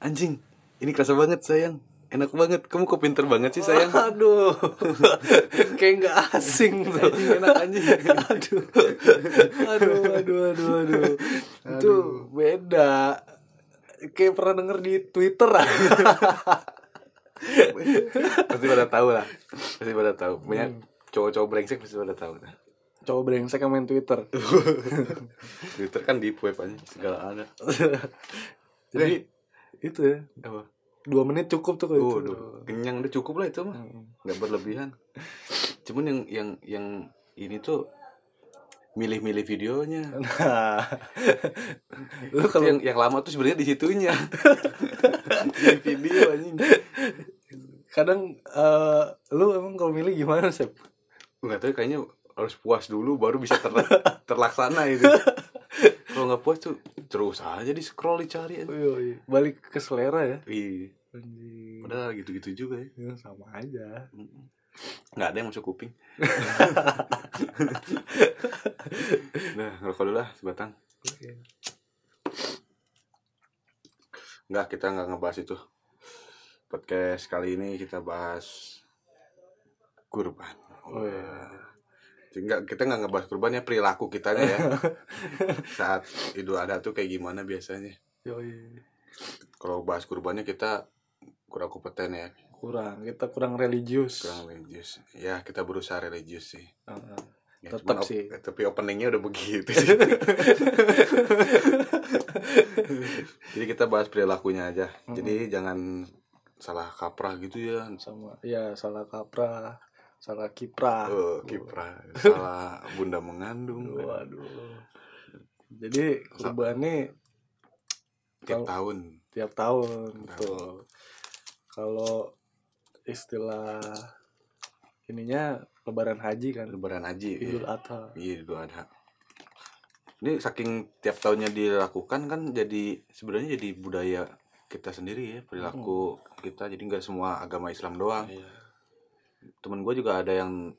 Anjing, ini kerasa banget sayang. Enak banget. Kamu kok pinter banget sih sayang. Aduh, kayak nggak asing tuh. Anjing, enak anjing. aduh, aduh, aduh, aduh, aduh. Itu beda. Kayak pernah denger di Twitter pasti pada tahu lah. Pasti pada tahu. Banyak cowok-cowok brengsek pasti pada tahu. lah. Coba brengsek yang main Twitter. Twitter kan deep web anjing segala ada. Jadi itu ya. Eh, Apa? Dua menit cukup tuh kalau itu. Waduh, kenyang udah cukup lah itu mah. Nggak berlebihan. Cuman yang yang yang ini tuh milih-milih videonya. Nah, lu Itu kalau yang yang lama tuh sebenarnya di situnya. di video anjing. kadang eh, lu emang kalau milih gimana sih? nggak tahu kayaknya harus puas dulu baru bisa ter- terlaksana itu kalau nggak puas tuh terus aja di scroll dicari aja. Balik ke selera ya. Ih, padahal gitu-gitu juga ya Ya, sama aja. nggak ada yang masuk kuping nah ngerokok dulu lah sebatang nggak kita nggak ngebahas itu podcast kali ini kita bahas kurban Oh, iya. Enggak, kita nggak ngebahas kurban ya perilaku kitanya ya saat idul adha tuh kayak gimana biasanya Yoi. kalau bahas kurbannya kita kurang kompeten ya kurang kita kurang religius Ah, kurang religius ya kita berusaha religius sih Heeh. Ya, Tetep cuman op- sih. tapi openingnya udah begitu sih. jadi kita bahas perilakunya aja jadi jangan salah kaprah gitu ya sama ya salah kaprah salah kiprah Eh, kiprah salah bunda mengandung waduh jadi kurbannya tiap Kalau- tahun tiap tahun betul kalau istilah ininya lebaran haji kan lebaran haji ya. idul adha Iya Idul Adha. Ini saking tiap tahunnya dilakukan kan jadi sebenarnya jadi budaya kita sendiri ya perilaku kita jadi nggak semua agama Islam doang. Iya. Temen gue juga ada yang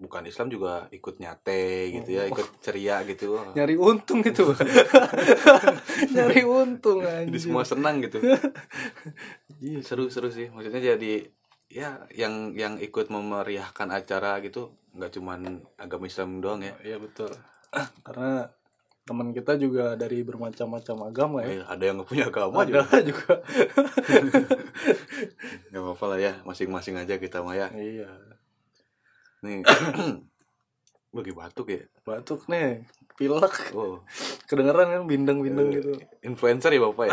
bukan Islam juga ikut nyate gitu Oh. ya ikut ceria gitu. Wah, nyari untung gitu nyari untung Jadi anjir semua senang gitu. Iya seru-seru sih maksudnya jadi ya yang yang ikut memeriahkan acara gitu nggak cuman agama Islam doang ya. iya betul karena teman kita juga dari bermacam-macam agama Eh, ya Ada yang nggak punya agama juga. ada juga Gak apa-apa lah ya, masing-masing aja kita mah ya. iya Nih. Bagi batuk ya. batuk nih pilek Oh, kedengeran kan Iya. bindeng-bindeng gitu influencer ya Bapak ya?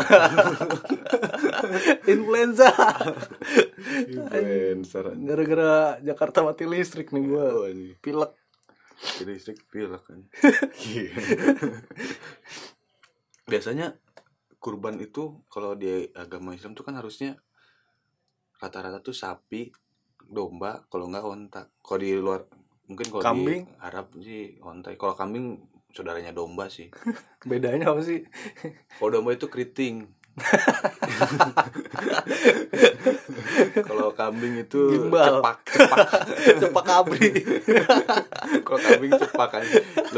influenza influencer. gara-gara Jakarta mati listrik nih gua Oh, ini pilek jadi listrik pilek kan. Iya. Biasanya kurban itu kalau di agama Islam tuh kan harusnya rata-rata tuh sapi, domba, kalau nggak onta. Kalau di luar mungkin kalau Kambing? di Arab sih onta. Kalau kambing saudaranya domba sih. bedanya apa sih Kalau domba itu keriting. Kalau kambing itu Gimbal. cepak, cepak. cepak kabri Kalau kambing cepak kan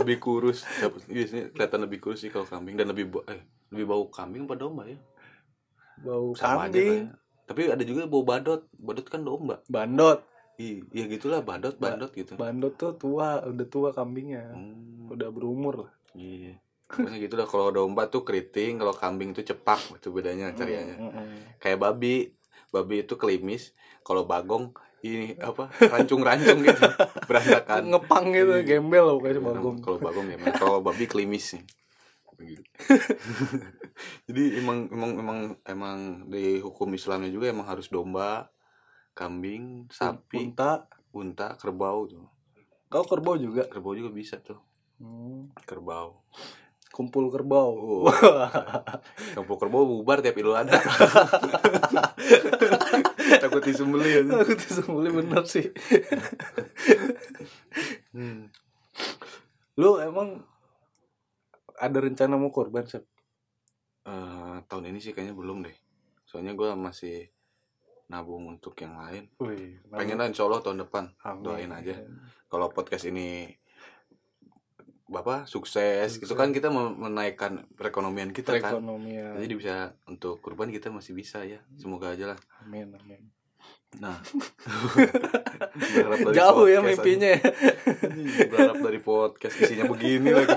lebih kurus. Cep- Biasanya kelihatan lebih kurus sih kalau kambing dan lebih bau eh lebih bau kambing apa domba ya? bau Sama kambing aja. Pak. Tapi ada juga bau badot. Badot kan domba. bandot Iya, ya gitulah badot, bandot gitu. bandot tuh tua udah tua kambingnya Hmm, udah berumur lah iya. Pokoknya gitu lah kalau domba tuh keriting, kalau kambing tuh cepak. Itu Hmm. bedanya cariannya. Mm-mm. kayak babi babi itu kelimis kalau bagong ini apa rancung-rancung gitu berantakan ngepang gitu Iya. gembel lah pokoknya bagong kalau bagong ya Mas. kalau babi kelimis sih Gitu. jadi emang emang emang emang di hukum Islamnya juga emang harus domba kambing sapi unta unta kerbau tuh kau kerbau juga kerbau juga bisa tuh Hmm, kerbau kumpul kerbau oh. kampung kerbau bubar tiap idul adha takut disembelih ya. aku tuh sembelih bener sih Hmm. lu emang ada rencana mau korban sih eh tahun ini sih kayaknya belum deh. Soalnya gua masih nabung untuk yang lain. Wih, Pengen lah insya Allah tahun depan. amin. doain aja. Kalau podcast ini bapak sukses, gitu Sukses. kan kita mem- menaikkan perekonomian kita kan. perekonomian Jadi bisa untuk kurban kita masih bisa ya. Semoga aja lah. amin amin Nah. Berharap dari jauh ya podcast mimpinya aja. Berharap dari podcast isinya begini lagi.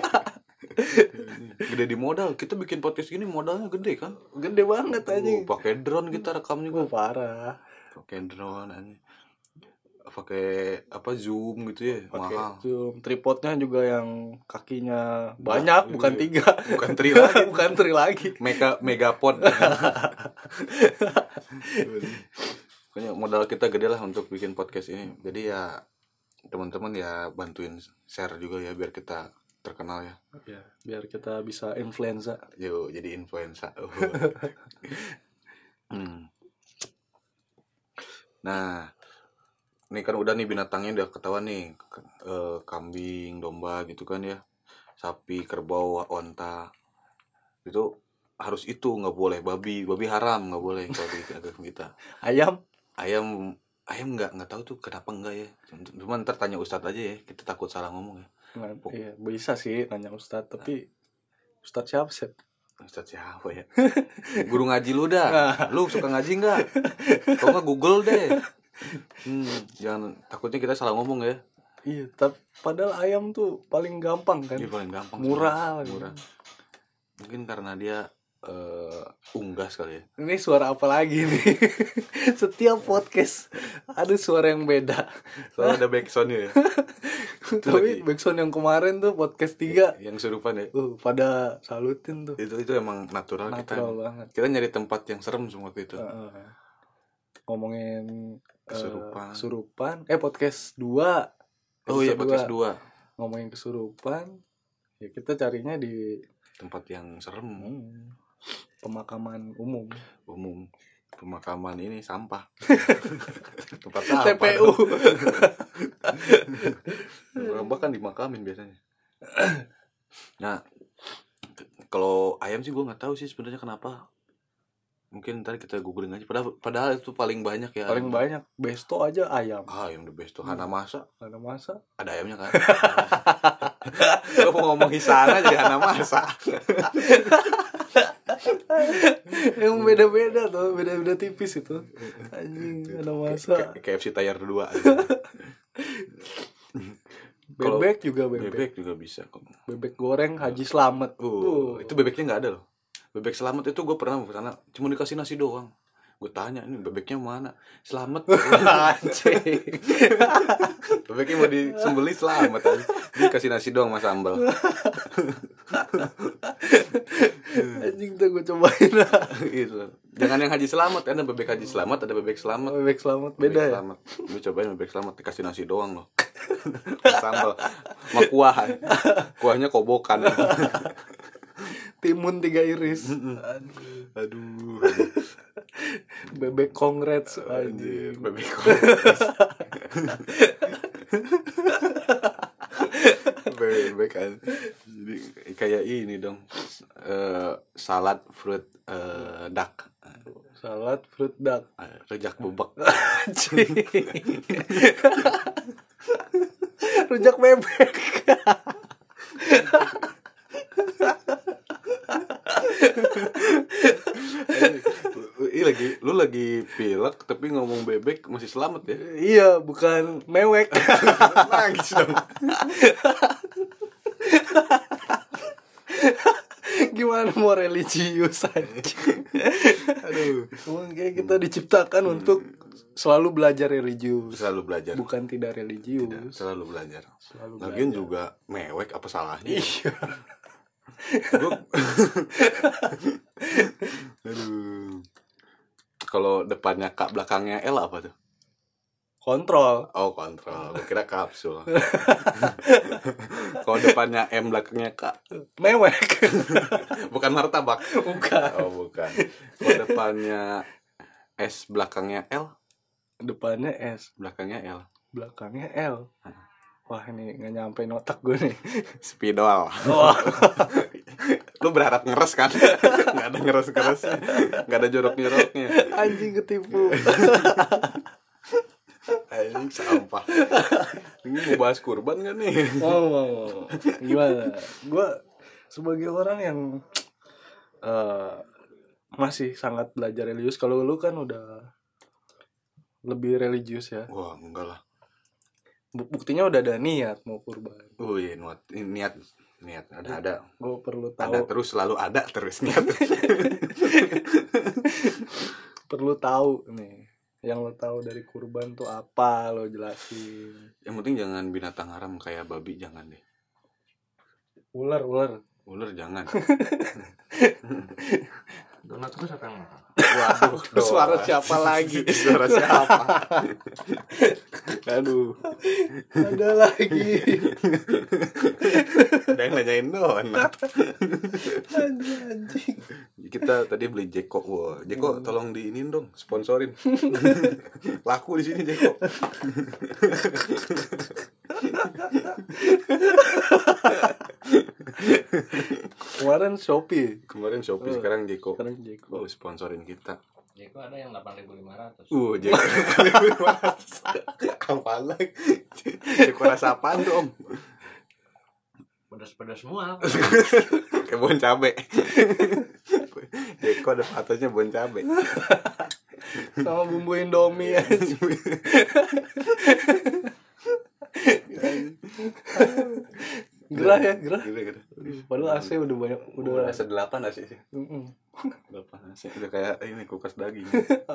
Gede di modal. Kita bikin podcast gini modalnya gede kan? gede banget aja Uh, pakai drone kita rekam juga. gue parah Pakai drone aja. Pakai apa Zoom gitu ya, pakai mahal. zoom tripodnya juga yang kakinya banyak iya. bukan tiga Bukan tri lagi. bukan tri lagi Mega megapod. Pokoknya modal kita gede lah untuk bikin podcast ini. Jadi ya teman-teman ya bantuin share juga ya biar kita terkenal ya. Ya, biar kita bisa influenza Yuk jadi influencer. Hmm. Nah, ini kan udah nih binatangnya udah ketahuan nih K- eh, kambing, domba gitu kan ya, sapi, kerbau, onta itu harus itu nggak boleh babi, babi haram nggak boleh kalau di agama kita. ayam Ayam ayam nggak nggak tahu tuh kenapa nggak ya. Cuma ntar tanya ustadz aja ya, kita takut salah ngomong ya. Nah, iya, bisa sih nanya ustadz tapi ustadz siapa sih Ustadz siapa ya? Guru ngaji lu dah. Lu suka ngaji nggak? Kalau nggak Google deh. Hmm, jangan takutnya kita salah ngomong ya. iya tapi padahal ayam tuh paling gampang kan Ini Iya, paling gampang. murah gitu. lagi. Murah. Mungkin karena dia eh, unggas kali ya. ini suara apa lagi nih setiap podcast ada suara yang beda Soalnya ada backsoundnya ya. lagi. tapi backsound yang kemarin tuh podcast 3 Yang serupa ya. uh, pada salutin tuh Itu itu emang natural, Ah. natural kita. banget Kita nyari tempat yang serem semua waktu itu. Heeh. ngomongin eh, Kesurupan. kesurupan eh podcast 2 oh iya podcast dua. ngomongin kesurupan ya kita carinya di Tempat yang serem hmm, pemakaman umum umum pemakaman ini sampah. tempat sampah. TPU Iya. Orang bahkan kan dimakamin biasanya. nah, k- kalau ayam sih gue nggak tahu sih sebenarnya kenapa. Mungkin ntar kita googling aja. Padahal, padahal itu paling banyak ya. paling Hmm. ayam. banyak besto aja ayam Ah, ayam the best tuh. Hana masa ada masa ada ayamnya kan? Lo mau ngomong hisana jadi Hana masa. yang beda-beda tuh beda-beda tipis itu anjing ada masa K- KFC tayar dua. kalau- bebek juga bebek Bebek juga bisa kok. bebek goreng haji selamat Oh, Uh, itu bebeknya nggak ada loh. Bebek selamat itu gue pernah ke sana, cuma dikasih nasi doang. Gue tanya, ini bebeknya mana? Selamat. anjing Bebeknya mau disembeli selamat aja. Dia kasih nasi doang mas sambal. anjing tuh gue cobain lah gitu. Jangan yang haji selamat, ada bebek haji selamat, ada bebek selamat. bebek selamat Bebek beda ya selamat. Lu cobain bebek selamat dikasih nasi doang loh. Mas sambal. Sama kuah. Kuahnya kobokan. timun tiga iris Aduh. bebek congrats Anjir, anjing bebek bebek kan jadi kayak ini dong Eh, salad fruit eh, duck salad fruit duck Eh, rejak bebek anjing rujak bebek Ih Iya, lagi, lu lagi pilek tapi ngomong bebek masih selamat ya. iya bukan mewek Nangis dong. gimana mau religius anjing Aduh. Emang kayak kita diciptakan untuk selalu belajar Hmm. religius, Selalu belajar. Ya, bukan tidak religius. Selalu belajar. Selalu Lagian juga mewek apa salahnya? Iya. Gua- Aduh. Kalau depannya K, belakangnya L apa tuh? Kontrol. Oh, kontrol. Gua kira kapsul. Kalau depannya M, belakangnya K. Mewek. Bukan martabak. Bukan. Oh, bukan. Kalau depannya S, belakangnya L, Depannya S, belakangnya L. belakangnya L. Wah ini nggak nyampe otak gue nih. Spidol. Wah. Lu berharap ngeres kan? Nggak ada ngeres-ngeres. Nggak ada jorok-joroknya. Anjing ketipu. anjing sampah ini mau bahas kurban kan nih mau mau mau. gimana gue sebagai orang yang eh, masih sangat belajar religius kalau lu kan udah lebih religius ya wah enggak lah Bu- buktinya udah ada niat mau kurban oh iya niat niat niat ada ada gue perlu ada tahu terus selalu ada terus niat perlu tahu nih yang lo tahu dari kurban tuh apa lo jelasin yang penting jangan binatang haram kayak babi jangan deh ular ular ular jangan Donat gue siapa yang makan? waduh Suara doa. siapa lagi? suara siapa aduh ada lagi ada yang nanyain doang anjing anjing kita tadi beli Jeko wah Jeko tolong diinin dong sponsorin laku di sini Jeko kemarin shopee kemarin Shopee Hmm. sekarang Jeko sekarang Jeko oh sponsorin kita Ya gue ada yang 8500 uh Jeko apaan lagi Jeko rasa apaan tuh om Pedas-pedas semua kayak bon cabe Jeko ada atasnya bon cabe sama bumbu indomie anjing. gerah ya gerah Gila-gila. padahal AC udah banyak udah udah rasa delapan nasi sih Mm-mm. delapan nasi udah kayak ini kukas daging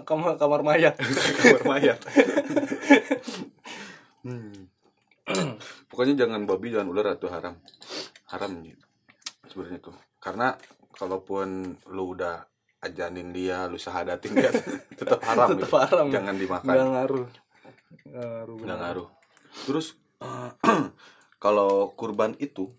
kamar kamar mayat kamar mayat Hmm. pokoknya jangan babi jangan ular atau haram haram gitu sebenarnya tuh karena kalaupun lu udah ajanin dia lu sahadatin dia tetap haram Tetep gitu. haram. ya. jangan nggak dimakan ngaruh nggak ngaruh nggak benar. ngaruh terus kalau kurban itu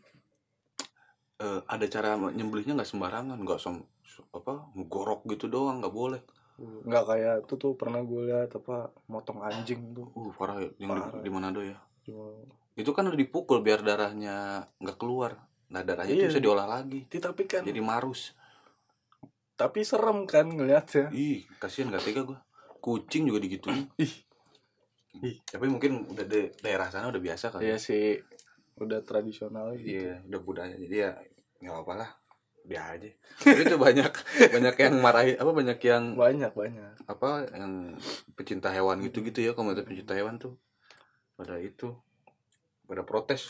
eh, ada cara nyembelihnya nggak sembarangan nggak som apa gorok gitu doang nggak boleh nggak kayak itu tuh pernah gue lihat apa motong anjing tuh uh parah ya yang Parah. di, di Manado ya Cuma- itu kan udah dipukul biar darahnya nggak keluar nah darahnya itu Iya. bisa diolah lagi Ti, tapi kan jadi marus tapi serem kan ngeliatnya ih kasihan nggak tega gua kucing juga digituin Ih. Ih, tapi mungkin udah di daerah sana udah biasa kali Iya sih udah tradisional gitu. iya udah budaya jadi ya nggak apa lah dia aja tapi itu banyak banyak yang marahin apa banyak yang banyak banyak apa yang pecinta hewan gitu gitu ya komunitas pecinta hewan tuh pada itu pada protes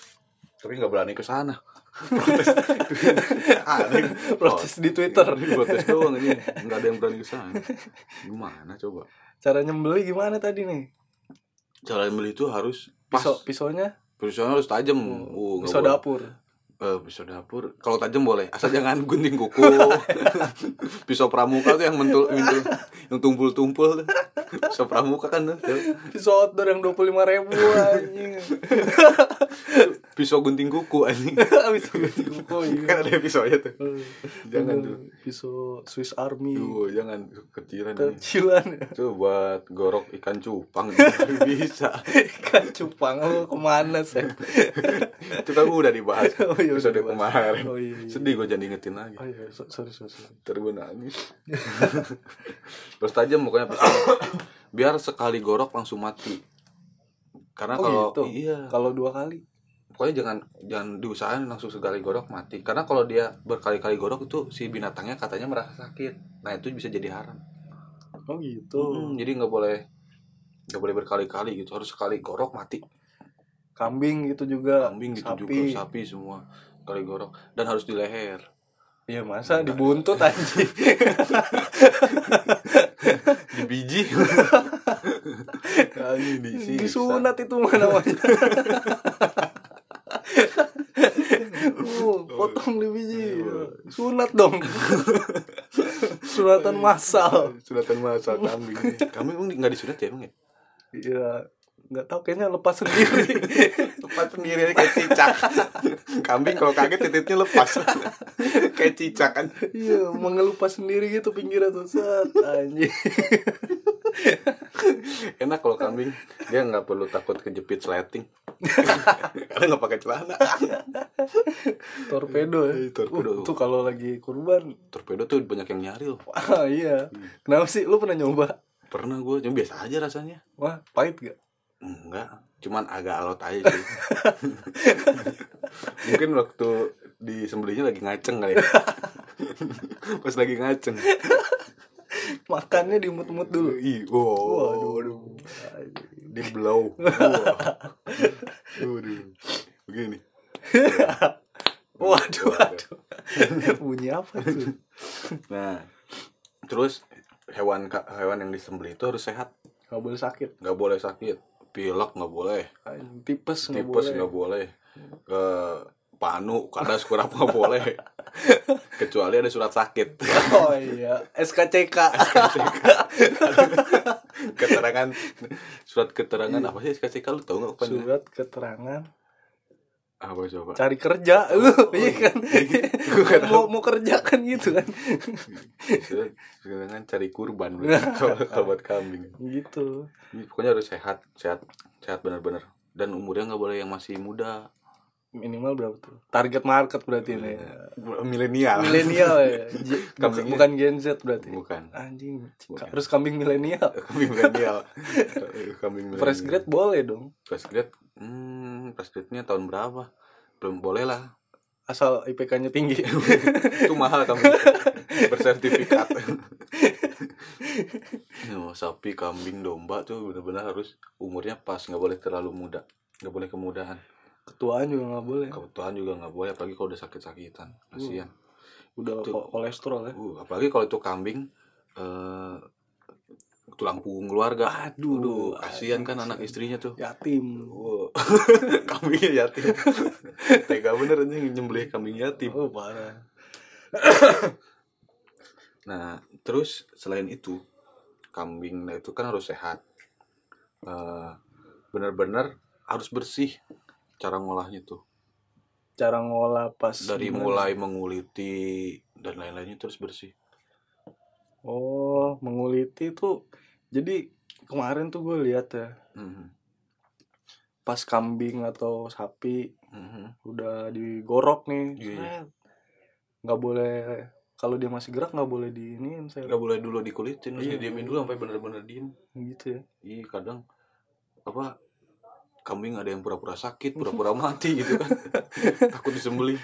tapi nggak berani ke sana protes aneh Oh, iya. protes protes di Twitter protes doang ini nggak ada yang berani ke sana gimana coba cara nyembeli gimana tadi nih cara beli itu harus pas pisau pisaunya pisaunya harus tajam Oh, nggak pisau boleh. dapur Eh, pisau dapur kalau tajam boleh asal jangan gunting kuku pisau pramuka tuh yang mentul, mentul yang tumpul-tumpul tuh. pisau pramuka kan tuh. pisau outdoor yang dua puluh lima ribu anjing pisau gunting kuku anjing pisau kuku iya. kan ada pisaunya tuh jangan jangan tuh Iya. Iya. pisau Swiss Army Duh, jangan kecilan ini kecilan tuh buat gorok ikan cupang bisa ikan cupang lo kemana sih itu kan udah dibahas Oh, iya, udah episode dibahas. kemarin Oh, iya, iya. sedih gue jadi ingetin lagi oh iya so- sorry sorry, sorry. ntar gue nangis terus tajam pokoknya pisau biar sekali gorok langsung mati karena Oh, kalau gitu? iya kalau dua kali pokoknya jangan jangan diusahain langsung sekali gorok mati karena kalau dia berkali-kali gorok itu si binatangnya katanya merasa sakit nah itu bisa jadi haram oh gitu Mm, jadi nggak boleh nggak boleh berkali-kali gitu harus sekali gorok mati kambing gitu juga kambing gitu sapi. juga sapi semua kali gorok dan harus di leher Iya masa dibuntut anjing di biji Anjing, disiksa. disunat itu mana namanya uh, potong di biji sunat dong sunatan massal sunatan masal kambing kambing emang nggak disunat ya emang ya Iya, nggak tahu kayaknya lepas sendiri. lepas sendiri aja kayak cicak kambing kalau kaget titiknya lepas kayak cicak kan iya, mengelupas sendiri gitu pinggirnya tuh set anjing. enak kalau kambing dia nggak perlu takut kejepit sleting karena nggak pakai celana Torpedo ya. Iya, torpedo. Uh, tuh kalau lagi kurban. torpedo tuh banyak yang nyari loh Wah, Hmm. iya. Kenapa sih lu pernah nyoba? pernah gue cuma biasa aja rasanya Wah, pahit gak? Enggak, cuman agak alot aja sih. Mungkin waktu disembelihnya lagi ngaceng kali ya. Pas lagi ngaceng. Makannya dimut-mut dulu. Ih, wow. Waduh, waduh. Di blow. Wow. Waduh. Begini. Waduh, waduh. Bunyi apa tuh? Nah, terus hewan ka- hewan yang disembelih itu harus sehat, Gak boleh sakit. nggak boleh sakit, pilek nggak boleh, Anjing, Tipes nggak tipes boleh. nggak boleh, ke panu, kadas kurap nggak boleh, kecuali ada surat sakit, Oh iya, SKCK. keterangan surat keterangan apa sih SKCK lu tau nggak apa sih? Surat keterangan Apa coba? cari kerja. Lu iya kan. Gua nggak tahu. mau mau kerja kan gitu kan. Surat keterangan cari kurban, kalau kalau buat kambing. gitu. Ini Pokoknya harus sehat, sehat, sehat benar-benar. Dan umurnya nggak boleh yang masih muda, Minimal berapa tuh? Target market berarti ini. milenial. Milenial Iya. ya. J- bukan, Kambingnya. bukan Gen Z berarti. Bukan. Anjing, Bukan. harus kambing milenial. kambing milenial kambing milenial Fresh grade boleh dong. fresh grade hmm fresh grade nya tahun berapa belum boleh lah Asal IPK-nya tinggi. itu mahal kambing bersertifikat Ya, mau sapi kambing domba tuh benar-benar harus umurnya pas nggak boleh terlalu muda nggak boleh kemudahan Ketuaan juga nggak boleh. kebutuhan juga nggak boleh apalagi kalau udah sakit-sakitan kasihan Udah Itu. ko- kolesterol ya. uh, apalagi kalau itu kambing eh, tulang punggung keluarga aduh, aduh Aduh, kasihan kan kasihan. anak istrinya tuh Yatim. Wow. kambingnya yatim tega bener anjing nyembelih kambing yatim Oh, parah. nah terus selain itu kambing itu kan harus sehat Eh, bener-bener harus bersih cara ngolahnya tuh Cara ngolah pas dari gimana? mulai menguliti dan lain-lainnya terus bersih Oh, menguliti tuh. Jadi kemarin tuh gue lihat ya, Mhm. pas kambing atau sapi Mhm. udah digorok nih. Iya, iya. seret. Nggak boleh kalau dia masih gerak nggak boleh di ini nggak boleh dulu dikulitin Iya. iya. diamin dulu sampai bener-bener diem gitu ya. iya kadang apa kambing ada yang pura-pura sakit pura-pura mati gitu kan takut disembelih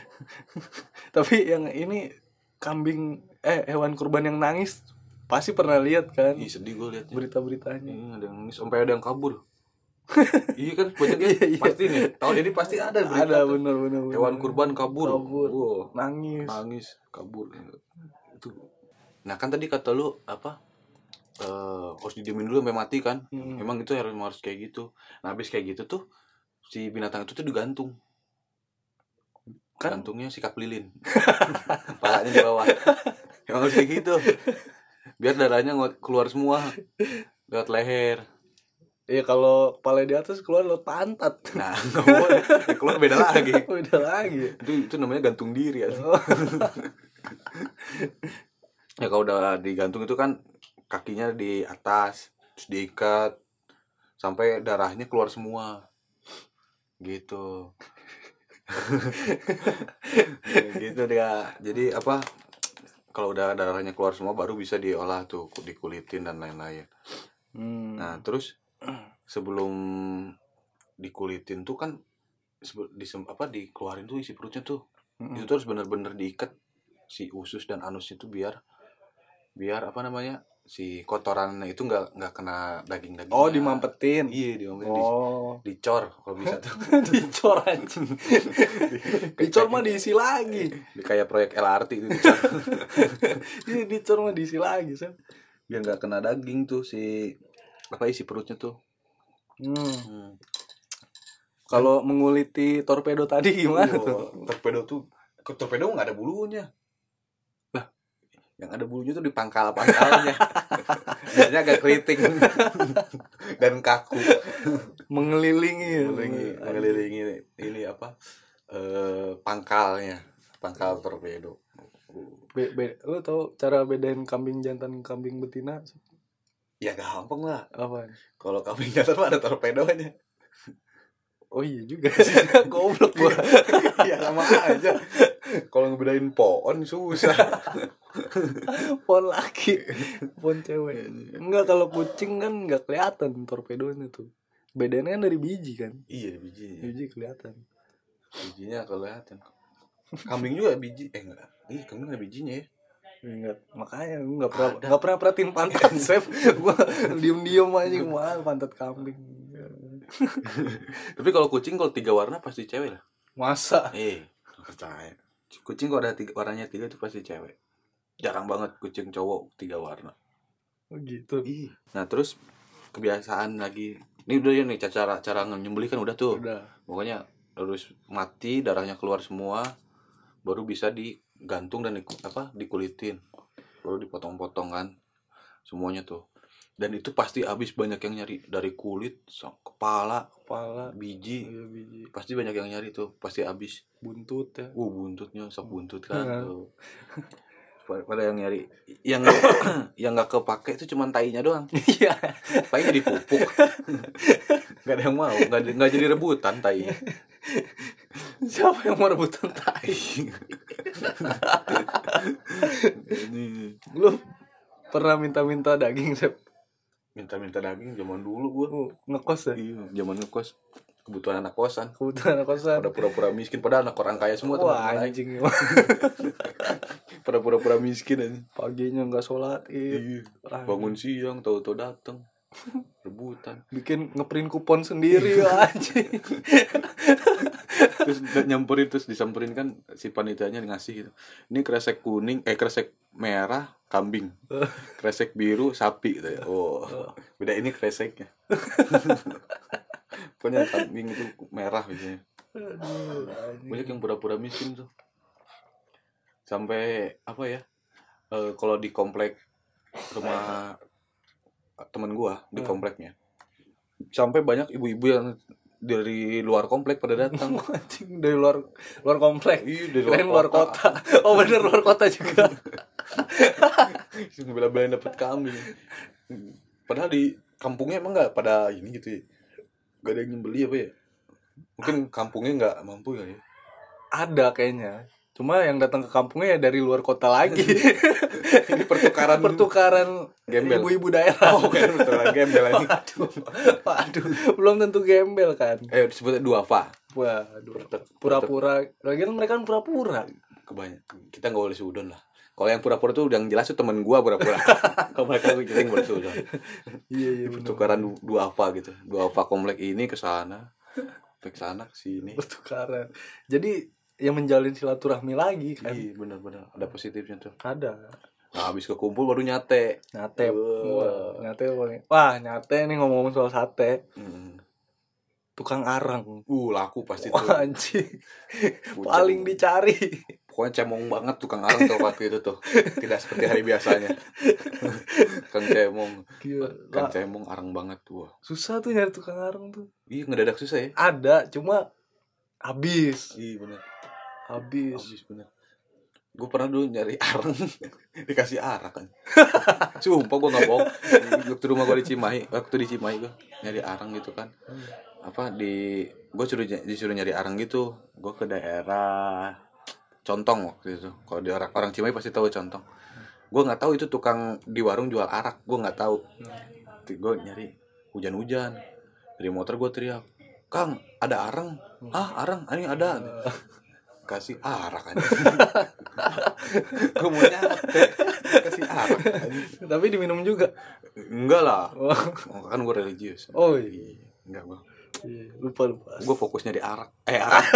Tapi yang ini kambing eh hewan kurban yang nangis pasti pernah lihat kan Ih sedih gue liatnya berita-beritanya. Iya ada yang nangis, sampai ada yang kabur. iya kan banyak ya, Iya, iya. pasti nih. Tahun ini pasti ada berita Ada tuh. bener-bener hewan kurban kabur. Kabur. Wow, nangis. nangis kabur. Itu. Nah kan tadi kata lu apa? Eh harus didiemin dulu sampai mati kan? Hmm. Emang itu harus harus kayak gitu. Nah habis kayak gitu tuh si binatang itu tuh digantung. Kan- Gantungnya sikap lilin. Palanya di bawah. Emang harus kayak gitu. Biar darahnya ngot- keluar semua lewat leher. Iya kalau kepala di atas keluar lo pantat. Nah, nggak boleh. Yang Keluar beda lagi. Udah lagi. Itu itu namanya gantung diri ya. Oh. Ya kalau udah digantung itu kan kakinya di atas, terus diikat sampai darahnya keluar semua. Gitu. Ya, gitu dia. Jadi apa? Kalau udah darahnya keluar semua baru bisa diolah tuh, dikulitin dan lain-lain. Hmm. Nah, terus sebelum dikulitin tuh kan sebe- disem, apa dikeluarin tuh isi perutnya tuh. Mm-mm. Itu tuh harus benar-benar diikat si usus dan anus itu biar biar apa namanya? si kotorannya itu nggak nggak kena daging-daging. Oh, dimampetin. Iya, dimampetin. Di- Oh, dicor kalau bisa tuh. dicor anjing. dicor mah diisi lagi. Kayak proyek LRT itu dicor. Iya, dicor mah diisi lagi, Sam. biar nggak kena daging tuh si apa isi perutnya tuh. Hmm. Kalau menguliti torpedo tadi Wah, gimana tuh? Iya, torpedo tuh ke- torpedo nggak ada bulunya lah yang ada bulunya tuh di pangkal pangkalnya biasanya agak keriting dan kaku Iya, Mengelilingi. mengelilingi mengelilingi ini apa eh, pangkalnya pangkal torpedo Be- be- lu tau cara bedain kambing jantan kambing betina ya gampang lah apa? kalau kambing jatuh mah ada torpedonya Oh iya juga. Goblok gua. ya sama aja kalau ngebedain pohon susah Pon Iya, laki, pon cewek. Enggak kalau kucing kan enggak kelihatan torpedonya tuh. bedanya kan dari biji kan Iya bijinya. biji kelihatan Bijinya kelihatan. Kambing juga biji. Eh enggak. Ih, kambing ada bijinya ya. Ingat. Makanya gue gak pernah nggak pernah perhatiin pantat Sep Gue diem-diem aja Wah pantat kambing Tapi kalau kucing kalau tiga warna pasti cewek lah. Masa Eh, percaya. Kucing kalau ada tiga, warnanya tiga itu pasti cewek. Jarang banget kucing cowok tiga warna. Oh gitu Nah, terus kebiasaan lagi. Ini udah ya nih cara cara nyembelih kan udah tuh. Udah Pokoknya harus mati, darahnya keluar semua baru bisa digantung dan di, apa dikulitin. Baru dipotong-potong kan. Semuanya tuh. Dan itu pasti habis banyak yang nyari dari kulit, so- kepala, Kepala biji. Iya biji Pasti banyak yang nyari tuh, pasti habis. Buntut ya Uh buntutnya sok buntut kan Iya. tuh. Pada pada yang nyari yang yang nggak kepake itu cuman tainya doang. Iya Tainya dipupuk. Gak ada yang mau, nggak ada- nggak jadi rebutan tainya. Siapa yang mau rebutan tai Ini Lu pernah minta-minta daging Sep minta-minta daging zaman dulu gua. Lu Ngekos ya Iya, zaman ngekos. Kebutuhan anak kosan. Kebutuhan kosan Pada pura-pura miskin, padahal anak orang kaya semua Wah teman-teman. anjing Pada pura-pura miskin aja. Paginya gak sholat id. Iya. Ah, Bangun siang, tahu-tahu dateng rebutan. Bikin ngeprint kupon sendiri anjing terus da- nyamperin terus disamperin kan si panitianya ngasih gitu ini kresek kuning eh kresek merah kambing kresek biru sapi gitu ya oh beda ini kreseknya pokoknya kambing itu merah biasanya Aduh, banyak anjing. yang pura-pura miskin tuh sampai apa ya eh, kalau di komplek rumah temen gua di Hmm. kompleknya sampai banyak ibu-ibu yang dari luar komplek pada datang Anjing dari luar luar komplek Iya, dari Kirain luar kota. Oh bener luar kota juga. bela-belain dapat kambing padahal di kampungnya emang nggak pada ini gitu ya nggak ada yang nyembeli apa ya mungkin kampungnya nggak mampu kali ya Ada kayaknya. Cuma yang datang ke kampungnya ya dari luar kota lagi. ini Kan pertukaran Pertukaran Gembel. ibu-ibu daerah. oh kan pertukaran gembel ini Waduh, waduh, belum tentu gembel kan. eh disebutnya dua fa Waduh, Pertek- pura-pura. Lagian mereka kan pura-pura. kebanyakan kita nggak boleh sudon lah kalau yang pura-pura tuh yang jelas tuh temen gua pura-pura kalau mereka tuh kita nggak boleh sudon Iya iya. Pertukaran. pertukaran du- dua fa gitu dua fa komplek ini ke sana ke sana ke sini Pertukaran. Jadi yang menjalin silaturahmi lagi kan. iya benar-benar ada positifnya tuh Ada. nah, habis kekumpul baru nyate Nyate. Wah. Wah, nyate paling. Wah, nyate nih ngomong soal sate. Mm. Tukang arang. Uh, laku pasti tuh. Wah, anjing. Pucung. Paling dicari. Pokoknya cemong banget tukang arang tuh waktu itu tuh. Tidak seperti hari biasanya. Kang cemong, Gila. Kang Lah, cemong arang banget tuh. susah tuh nyari tukang arang tuh. Ih, ngedadak susah ya. Ada, cuma habis. Iya bener. Habis. Habis bener. Gue pernah dulu nyari arang dikasih arak kan. Sumpah gue nggak bohong. Waktu rumah gue di Cimahi, waktu di Cimahi gue nyari arang gitu kan. Apa di gue suruh disuruh nyari arang gitu. Gue ke daerah Contong waktu itu. Kalau di orang orang Cimahi pasti tahu Contong. Gue nggak tahu itu tukang di warung jual arak. Gue nggak tahu. Gue nyari hujan-hujan. Dari motor gue teriak, Kang, ada arang? Ah, arang, ini ada kasih arak aja gue mau nyate kasih arak anjing. Tapi diminum juga. enggak lah Wah, Oh, kan gue religius Oh, iya. enggak gue iya, lupa lupa. gue fokusnya di arak eh arak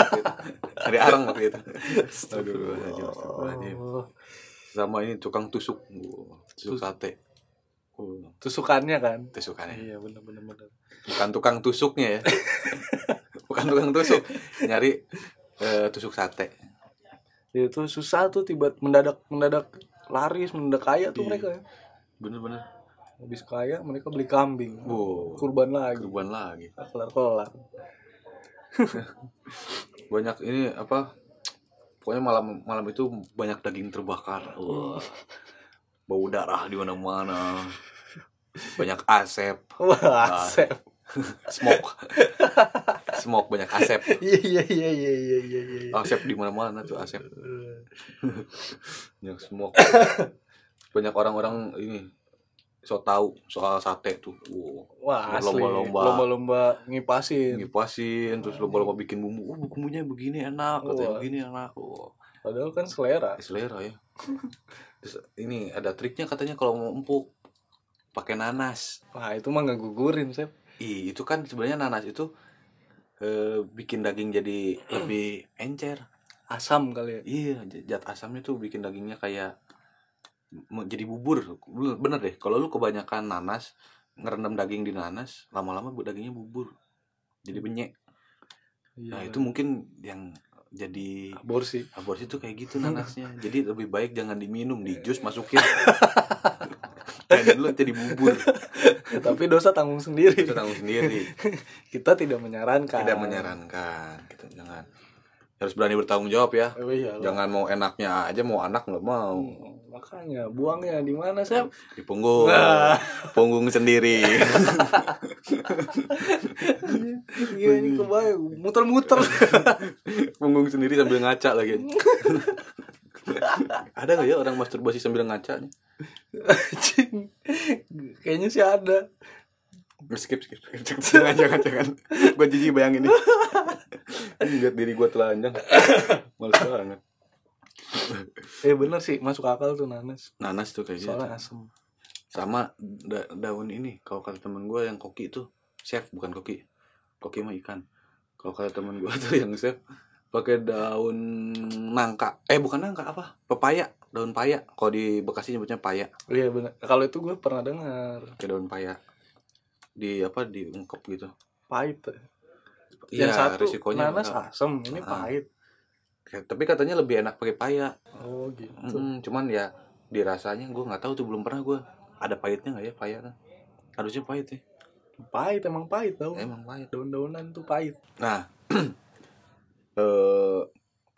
dari arang waktu itu aduh anjing, astagfirullahaladzim. Oh, sama ini tukang tusuk Wah, tusuk sate Wah, tusukannya kan. tusukannya Iya, benar benar benar. bukan tukang tusuknya ya bukan tukang tusuk nyari eh, tusuk sate Itu susah tuh tiba mendadak mendadak laris, mendadak kaya tuh Iya. mereka. ya. bener-bener Habis kaya mereka beli kambing. wow Kurban lagi. kurban lagi Kelar-kelar. banyak ini apa pokoknya malam malam itu banyak daging terbakar Wah. bau darah di mana-mana banyak asap Wah, Sep. smoke smoke banyak asap Iya iya iya iya iya iya. iya. asap di mana-mana tuh asap banyak smoke banyak orang-orang ini so tahu soal sate tuh wow. Wah, asli. Berlomba-lomba. Lomba-lomba ngipasin. ngipasin terus lomba-lomba bikin bumbu oh bumbunya begini enak katanya Wah. begini enak oh Padahal kan selera. selera ya terus ini ada triknya katanya kalau mau empuk pakai nanas Wah, itu mah nggak gugurin, Sep. Ih, itu kan sebenarnya nanas itu eh, bikin daging jadi lebih encer Asam kali ya. iya j- zat asamnya tuh bikin dagingnya kayak mau jadi bubur bener deh kalau lu kebanyakan nanas ngerendam daging di nanas lama-lama bu- dagingnya bubur jadi benyek nah Iya, itu mungkin yang jadi aborsi. aborsi tuh kayak gitu nanasnya jadi lebih baik jangan diminum di jus masukin gitu, dan lu jadi bubur Ya, tapi dosa tanggung sendiri. itu tanggung sendiri Kita tidak menyarankan. tidak menyarankan gitu jangan harus berani bertanggung jawab ya Oh, iya, lah. jangan mau enaknya aja mau anak nggak mau Hmm, Makanya buangnya di mana, Sep? di punggung Nah. punggung sendiri Iya, ini kebayang muter-muter. punggung sendiri sambil ngaca lagi ada nggak ya orang masturbasi sambil ngaca nih? Anjing. Kayaknya sih ada. skip skip skip. jangan jangan jangan gue jijik bayangin nih lihat diri gue telanjang males banget Eh bener sih, masuk akal tuh nanas. nanas tuh kayak gitu Soalnya asam. sama da- daun ini kalau kata temen gue yang koki itu chef bukan koki koki mah ikan kalau kata temen gue tuh yang chef pakai daun nangka eh bukan nangka apa pepaya daun paya kalau di bekasi nyebutnya paya Iya bener. Kalau itu gue pernah dengar pakai daun paya di apa diungkep gitu pahit. ya. Iya, Yang satu resikonya nanas enggak. asam, ini Ah. pahit. Kayak- tapi katanya lebih enak pakai paya Oh gitu. Mm-mm, cuman ya di rasanya gue nggak tahu tuh belum pernah gue ada pahitnya nggak ya paya kan harusnya pahit ya Pahit emang pahit tau. emang pahit Daun-daunan tuh pahit. Nah, eh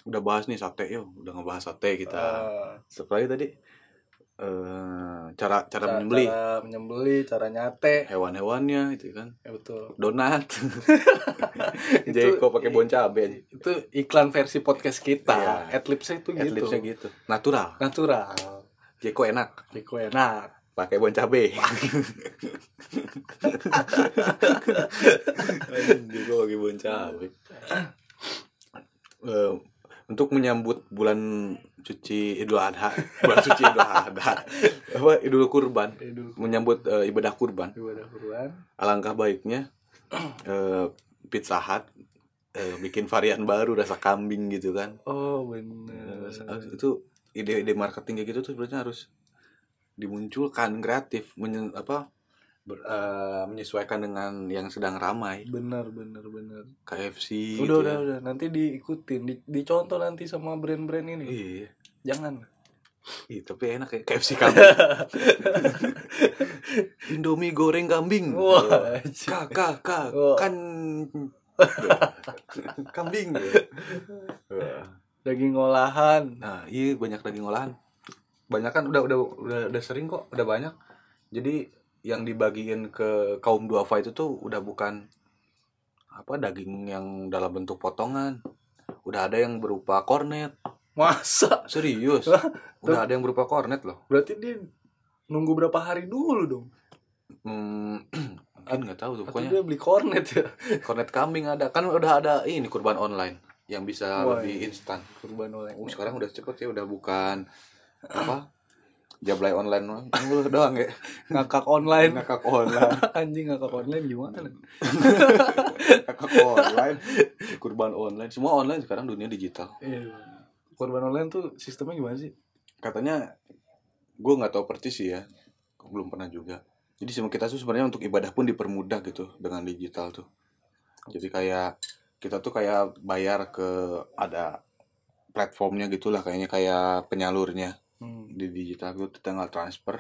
udah bahas nih sate yo, udah ngebahas sate kita. Eh, Satu lagi tadi eh cara cara ca- menyembeli Cara menyembeli, cara nyate. hewan-hewannya itu kan. Ya betul. Donat. Itu- Jeko pakai bon cabe aja. Itu iklan versi podcast kita. Iya. Adlibsnya itu gitu. Adlibsnya gitu. Natural. Natural. ya. Nah, Jeko enak Jeko enak. pakai bon cabe. Jeko pakai bon cabe. Eh, untuk menyambut bulan suci Idul Adha, bulan suci Idul Adha, apa Idul Kurban, Aduh. menyambut eh, ibadah kurban, Ibadah buruan. alangkah baiknya eh, Pizza Hut eh, bikin varian baru rasa kambing gitu kan. Oh Eh, bener. itu ide-ide marketing kayak gitu tuh sebenarnya harus dimunculkan kreatif menye- apa ber- eh, menyesuaikan dengan yang sedang ramai Bener bener bener. KFC Udah gitu udah ya. udah. Nanti diikutin, di, dicontoh nanti sama brand-brand ini. Iya, Jangan. Ih, tapi enak ya KFC kambing. Indomie goreng kambing. Wah. Kak, kak, kak, Wah. kan kambing. Daging olahan. Nah, iya banyak daging olahan. Banyak kan udah udah udah udah sering kok, udah banyak. Jadi yang dibagiin ke kaum duafa itu tuh udah bukan apa daging yang dalam bentuk potongan. Udah ada yang berupa kornet. Masa? Serius. Udah ada yang berupa kornet loh. Berarti dia nunggu berapa hari dulu dong? Hmm, mungkin nggak tahu tuh Atau pokoknya dia beli kornet ya? kornet kambing ada kan udah ada ini kurban online yang bisa Wah, lebih iya. instan Kurban oleh. Oh, sekarang udah cepet ya udah bukan apa jablay online doang. Oh, doang ya Ngakak online. ngakak online Anjing ngakak online gimana? ngakak online kurban online semua online sekarang dunia digital Iya. Kurban online tuh sistemnya gimana sih? katanya gue nggak tahu persis sih ya belum pernah juga jadi semua kita tuh sebenarnya untuk ibadah pun dipermudah gitu dengan digital tuh jadi kayak kita tuh kayak bayar ke ada platformnya gitulah kayaknya kayak penyalurnya Hmm. di digital itu kita tinggal transfer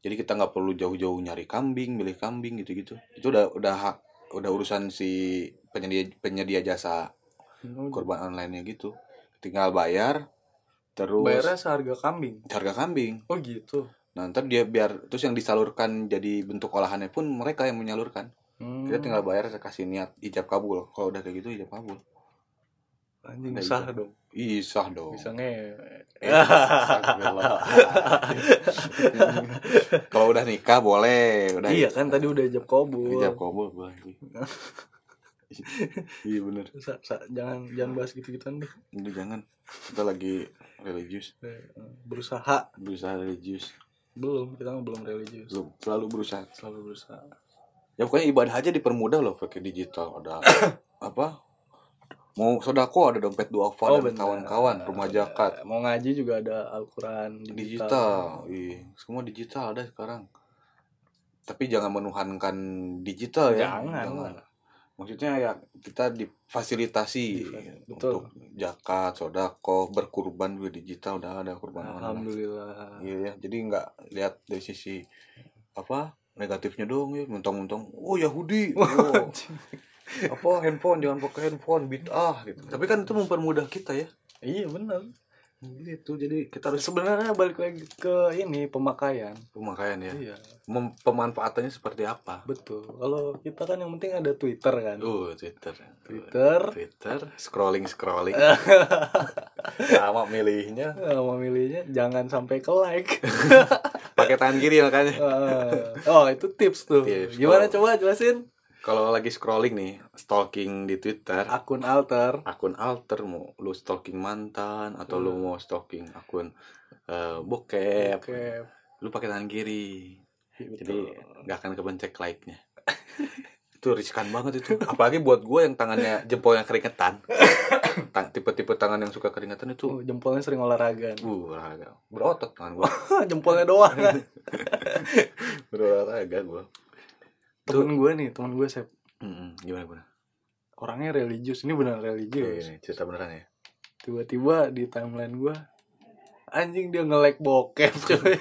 jadi kita nggak perlu jauh-jauh nyari kambing milih kambing gitu-gitu itu udah udah hak- udah urusan si penyedia penyedia jasa Oh, korban online nya gitu tinggal bayar terus Bayarnya seharga kambing. harga kambing Oh gitu. nah ntar dia biar terus yang disalurkan jadi bentuk olahannya pun mereka yang menyalurkan Hmm. kita tinggal bayar kasih niat ijab kabul kalau udah kayak gitu ijab kabul anjing Udah sah gitu. dong. Isah dong. bisa nge Eh, astagfirullah. Kalau udah nikah boleh, udah. gitu. iya kan tadi udah jawab kabul Hijab kobol boleh. iya bener. Sa- sa- jangan jangan bahas gitu gituan deh Ini jangan. Kita lagi religius, Eh, berusaha berusaha religius. belum kita mah belum religius Selalu, selalu berusaha. selalu berusaha Ya pokoknya ibadah aja dipermudah loh pakai digital. Ada apa? Mau sodako ada dompet duafa Oh, dan bener. kawan-kawan rumah jakat Eh, mau ngaji juga ada Al-Quran digital. Iya, semua digital ada sekarang. Tapi jangan menuhankan digital ya. Jangan. Maksudnya ya kita difasilitasi Difasilitasi, untuk jakat, sodako, berkurban juga digital udah ada kurban online. Alhamdulillah Iya ya, jadi nggak lihat dari sisi apa negatifnya dong ya, mentang-mentang oh Yahudi, oh, apa handphone jangan pakai handphone bid'ah gitu. Tapi kan itu mempermudah kita ya. iya benar Gitu, jadi kita harus sebenarnya balik lagi ke ini pemakaian pemakaian ya. iya Mem- pemanfaatannya seperti apa? betul kalau kita kan yang penting ada Twitter kan Uh, Twitter. Twitter Twitter, scrolling scrolling. Lama milihnya. eh, memilihnya jangan sampai ke like Pakai tangan kiri makanya. Eh, oh itu tips tuh Tips. gimana Kalau- coba jelasin Kalau lagi scrolling nih, stalking di Twitter, akun alter akun alter mau lu stalking mantan atau lu Hmm. mau stalking akun eh, bokep, Gitu. Oke. lu pakai tangan kiri. Jadi Betul. nggak akan kebencek like-nya. itu riskan banget itu. Apalagi buat gua yang tangannya jempolnya keringetan. Ta- Tipe-tipe tangan yang suka keringetan itu Oh, jempolnya sering olahraga nih. uh, olahraga. berotot tangan gua. jempolnya doang berolahraga gue temen gue nih temen gue sep gimana gimana orangnya religius ini benar religius Iya, cerita beneran ya tiba-tiba di timeline gue anjing dia nge-like bokep coy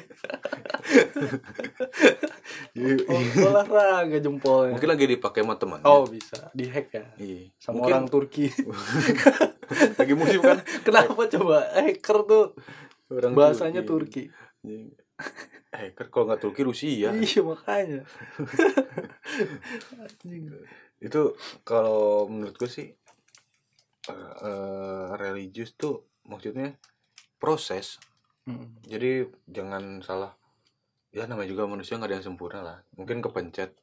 Iya, Oh, olahraga jempolnya mungkin lagi dipakai sama teman oh bisa dihack ya iya sama mungkin orang Turki lagi musim kan kenapa coba hacker tuh Orang bahasanya Turki. Turki, Iya. hacker kan kalau nggak Turki Rusia ya. iya makanya anjing itu kalau menurut gue sih eh, eh, religius tuh maksudnya proses Mm. jadi jangan salah ya namanya juga manusia nggak ada yang sempurna lah mungkin kepencet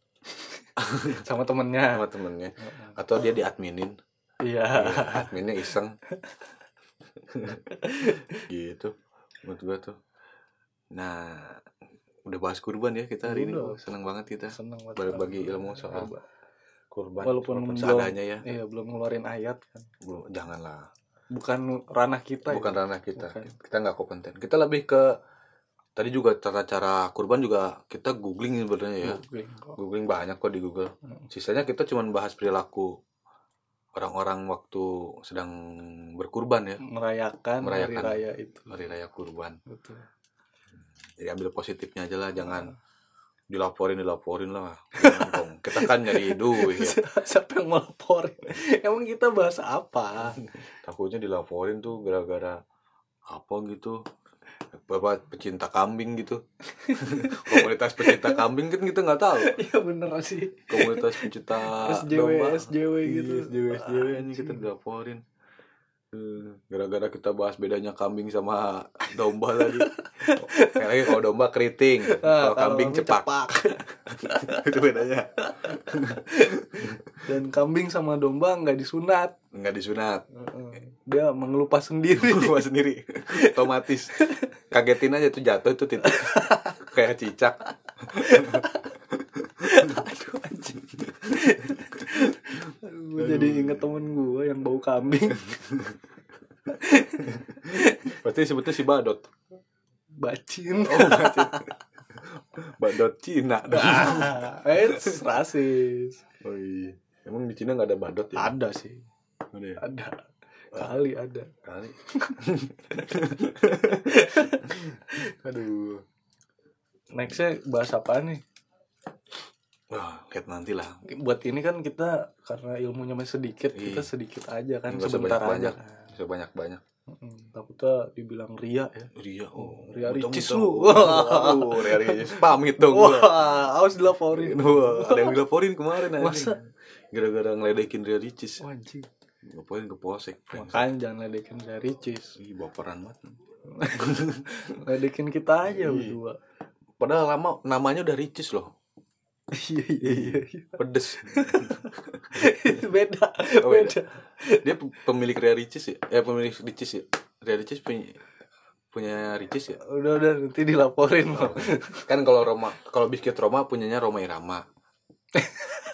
sama temennya sama temennya atau dia diadminin iya adminnya iseng gitu menurut gua tuh nah udah bahas kurban ya kita hari ini Udah. seneng banget kita seneng banget Berbagi ilmu soal kurban Walaupun belum- seadanya ya iya belum ngeluarin ayat kan Bu- janganlah bukan ranah kita bukan ya. ranah kita Bukan. kita nggak kompeten kita lebih ke tadi juga tata cara kurban juga kita googling sebenarnya ya Googling kok. googling banyak kok di Google Hmm. sisanya kita cuman bahas perilaku orang-orang waktu sedang berkurban ya merayakan, Merayakan. hari raya itu hari raya kurban betul jadi ambil positifnya aja lah Hmm. jangan dilaporin dilaporin lah Jangan dong. kita kan nyari duit ya. siapa yang mau laporin emang kita bahas apa takutnya dilaporin tuh gara-gara apa gitu bapak pecinta kambing gitu komunitas pecinta kambing kan kita nggak tahu ya bener sih komunitas pecinta SJW Ah, domba. SJW Iya, gitu SJW SJW anjing kita Anjing. dilaporin Eh, gara-gara kita bahas bedanya kambing sama domba tadi kayak lagi kalau domba keriting kalau Ah, kambing cepak itu bedanya dan kambing sama domba nggak disunat nggak disunat dia mengelupas sendiri rumah sendiri otomatis kagetin aja tuh jatuh itu titik kayak cicak Aduh anjing. Aduh, gua jadi inget temen gue yang bau kambing. pasti sebetulnya si badot Bacin. oh badot badot Cina dah Ah, Eits, rasis. oh, iya. emang di Cina nggak ada badot ya Ada sih. ada ya Ada. Kali ada. kali aduh Nextnya bahas apa nih? wah lihat nanti lah Buat ini kan kita karena ilmunya masih sedikit, Iya. kita sedikit aja kan Nggak usah sebentar aja. banyak-banyak. Kan. bisa banyak banyak Mm, Takutnya dibilang ria ya. Ria oh Ria Ricis untung- lu. untung. Waduh, Ria Ricis pamit dong gua. Wah, awas Iya. dilaporin. Wah, ada yang dilaporin kemarin anjing. Masa? gara-gara ngeledekin Ria Ricis Wah, anjing. Ngapain ke polsek? Makanya jangan ledekin saya Ricis. Ih, baperan banget. Ledekin kita aja Iya. berdua. Padahal lama namanya udah ricis loh. Iya iya iya. Pedes. Beda. Oh, beda. beda. Dia pe- pemilik Ria Ricis ya? Eh pemilik Ricis ya? Ria Ricis punya punya Ricis ya? Udah udah nanti dilaporin loh. Kan kalau Roma kalau biskuit Roma punyanya Roma Irama.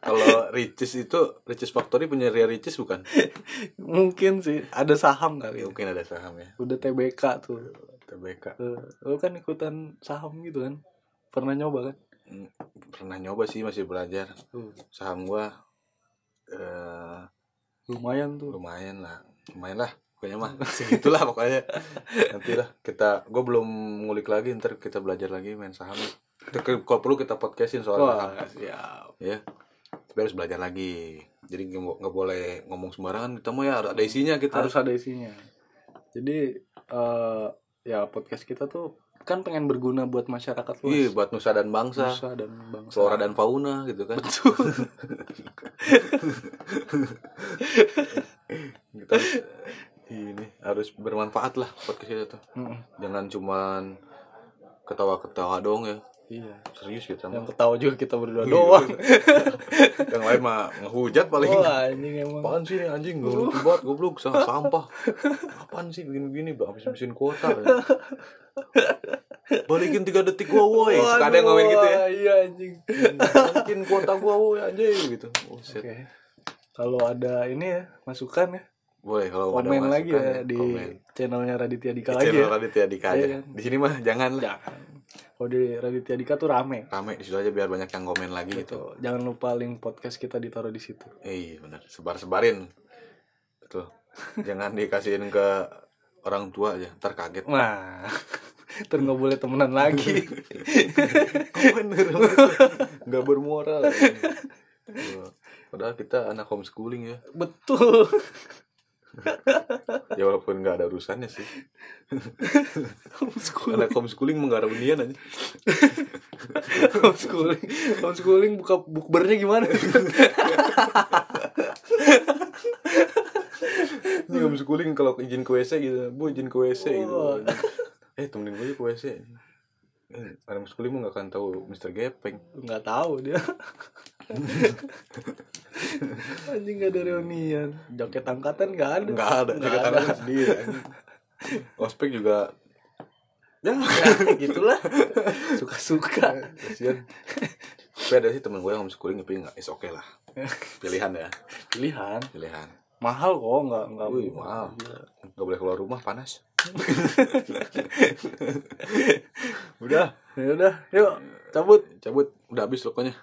kalau Ricis itu Ricis Factory punya Ria Ricis bukan? Mungkin sih ada saham Ya, kali. mungkin ada saham ya. Udah TBK tuh. TBK. Eh, Lu kan ikutan saham gitu kan? Pernah nyoba kan? Pernah nyoba sih masih belajar. Tuh, Saham gua eh lumayan tuh. lumayan lah lumayan lah pokoknya mah segitulah pokoknya nanti lah kita gue belum ngulik lagi ntar kita belajar lagi main saham Kita- kalau perlu kita podcastin soal saham Wah, siap. ya tapi harus belajar lagi jadi nggak bo- nggak boleh ngomong sembarangan kita mah ya harus ada isinya kita Harus ada isinya. Jadi eh ya podcast kita tuh kan pengen berguna buat masyarakat iya luas. buat nusa dan bangsa Nusa dan bangsa. flora dan fauna gitu kan Betul. kita harus- ini harus bermanfaat lah podcast kita tuh Mm, jangan cuman ketawa-ketawa doang ya Iya. serius gitu. kita Yang mah ketawa juga kita berdua Iya. doang. yang lain mah ngehujat paling Wah, anjing emang. Apaan sih ini anjing gak lucu banget goblok sah- sampah Apaan sih begini-begini bang habis habisin kuota ya. Balikin 3 detik gua woi Suka ada yang ngomongin gitu ya Waduh, Iya anjing. Balikin kuota gua woi anjing gitu Oke. Buset Kalau ada ini ya, masukan ya, Woi kalau ada komen lagi masukan ya di komen. channelnya Raditya Di Dika lagi channel ya. Raditya Dika Iya, aja kan? Di sini mah jangan lah Jangan. Kalau di Raditya Dika tuh rame. Rame di situ aja biar banyak yang komen lagi gitu Gitu. Jangan lupa link podcast kita ditaruh di situ. Eh, Iya benar, sebar-sebarin. Betul. Jangan dikasihin ke orang tua aja, ntar kaget. Wah, terus nggak boleh temenan lagi. Bener, nggak bermoral. ya. Padahal kita anak homeschooling ya, Betul. ya walaupun nggak ada urusannya sih. Homeschooling. Anak homeschooling mah nggak ada unian aja. Homeschooling. Homeschooling buka bukbernya gimana? Ini homeschooling kalau izin ke WC gitu, bu izin ke WC gitu. Wah. Eh temenin gue aja ke WC. Eh, Anak homeschooling mah nggak akan tahu Mr. Gepeng. Nggak tahu dia. Anjing nggak ada reunian. Jaket angkatan nggak ada. Nggak ada, Nggak jaga ada. tangan sendiri. anjing. Ospek juga ya Ya, gitulah. Suka-suka. kasihan tapi ada sih temen gue yang homeschooling tapi nggak is oke lah pilihan ya Pilihan. pilihan Mahal kok nggak nggak. Wih, iya. mahal. nggak boleh keluar rumah panas udah Ya udah, yuk cabut. cabut udah habis pokoknya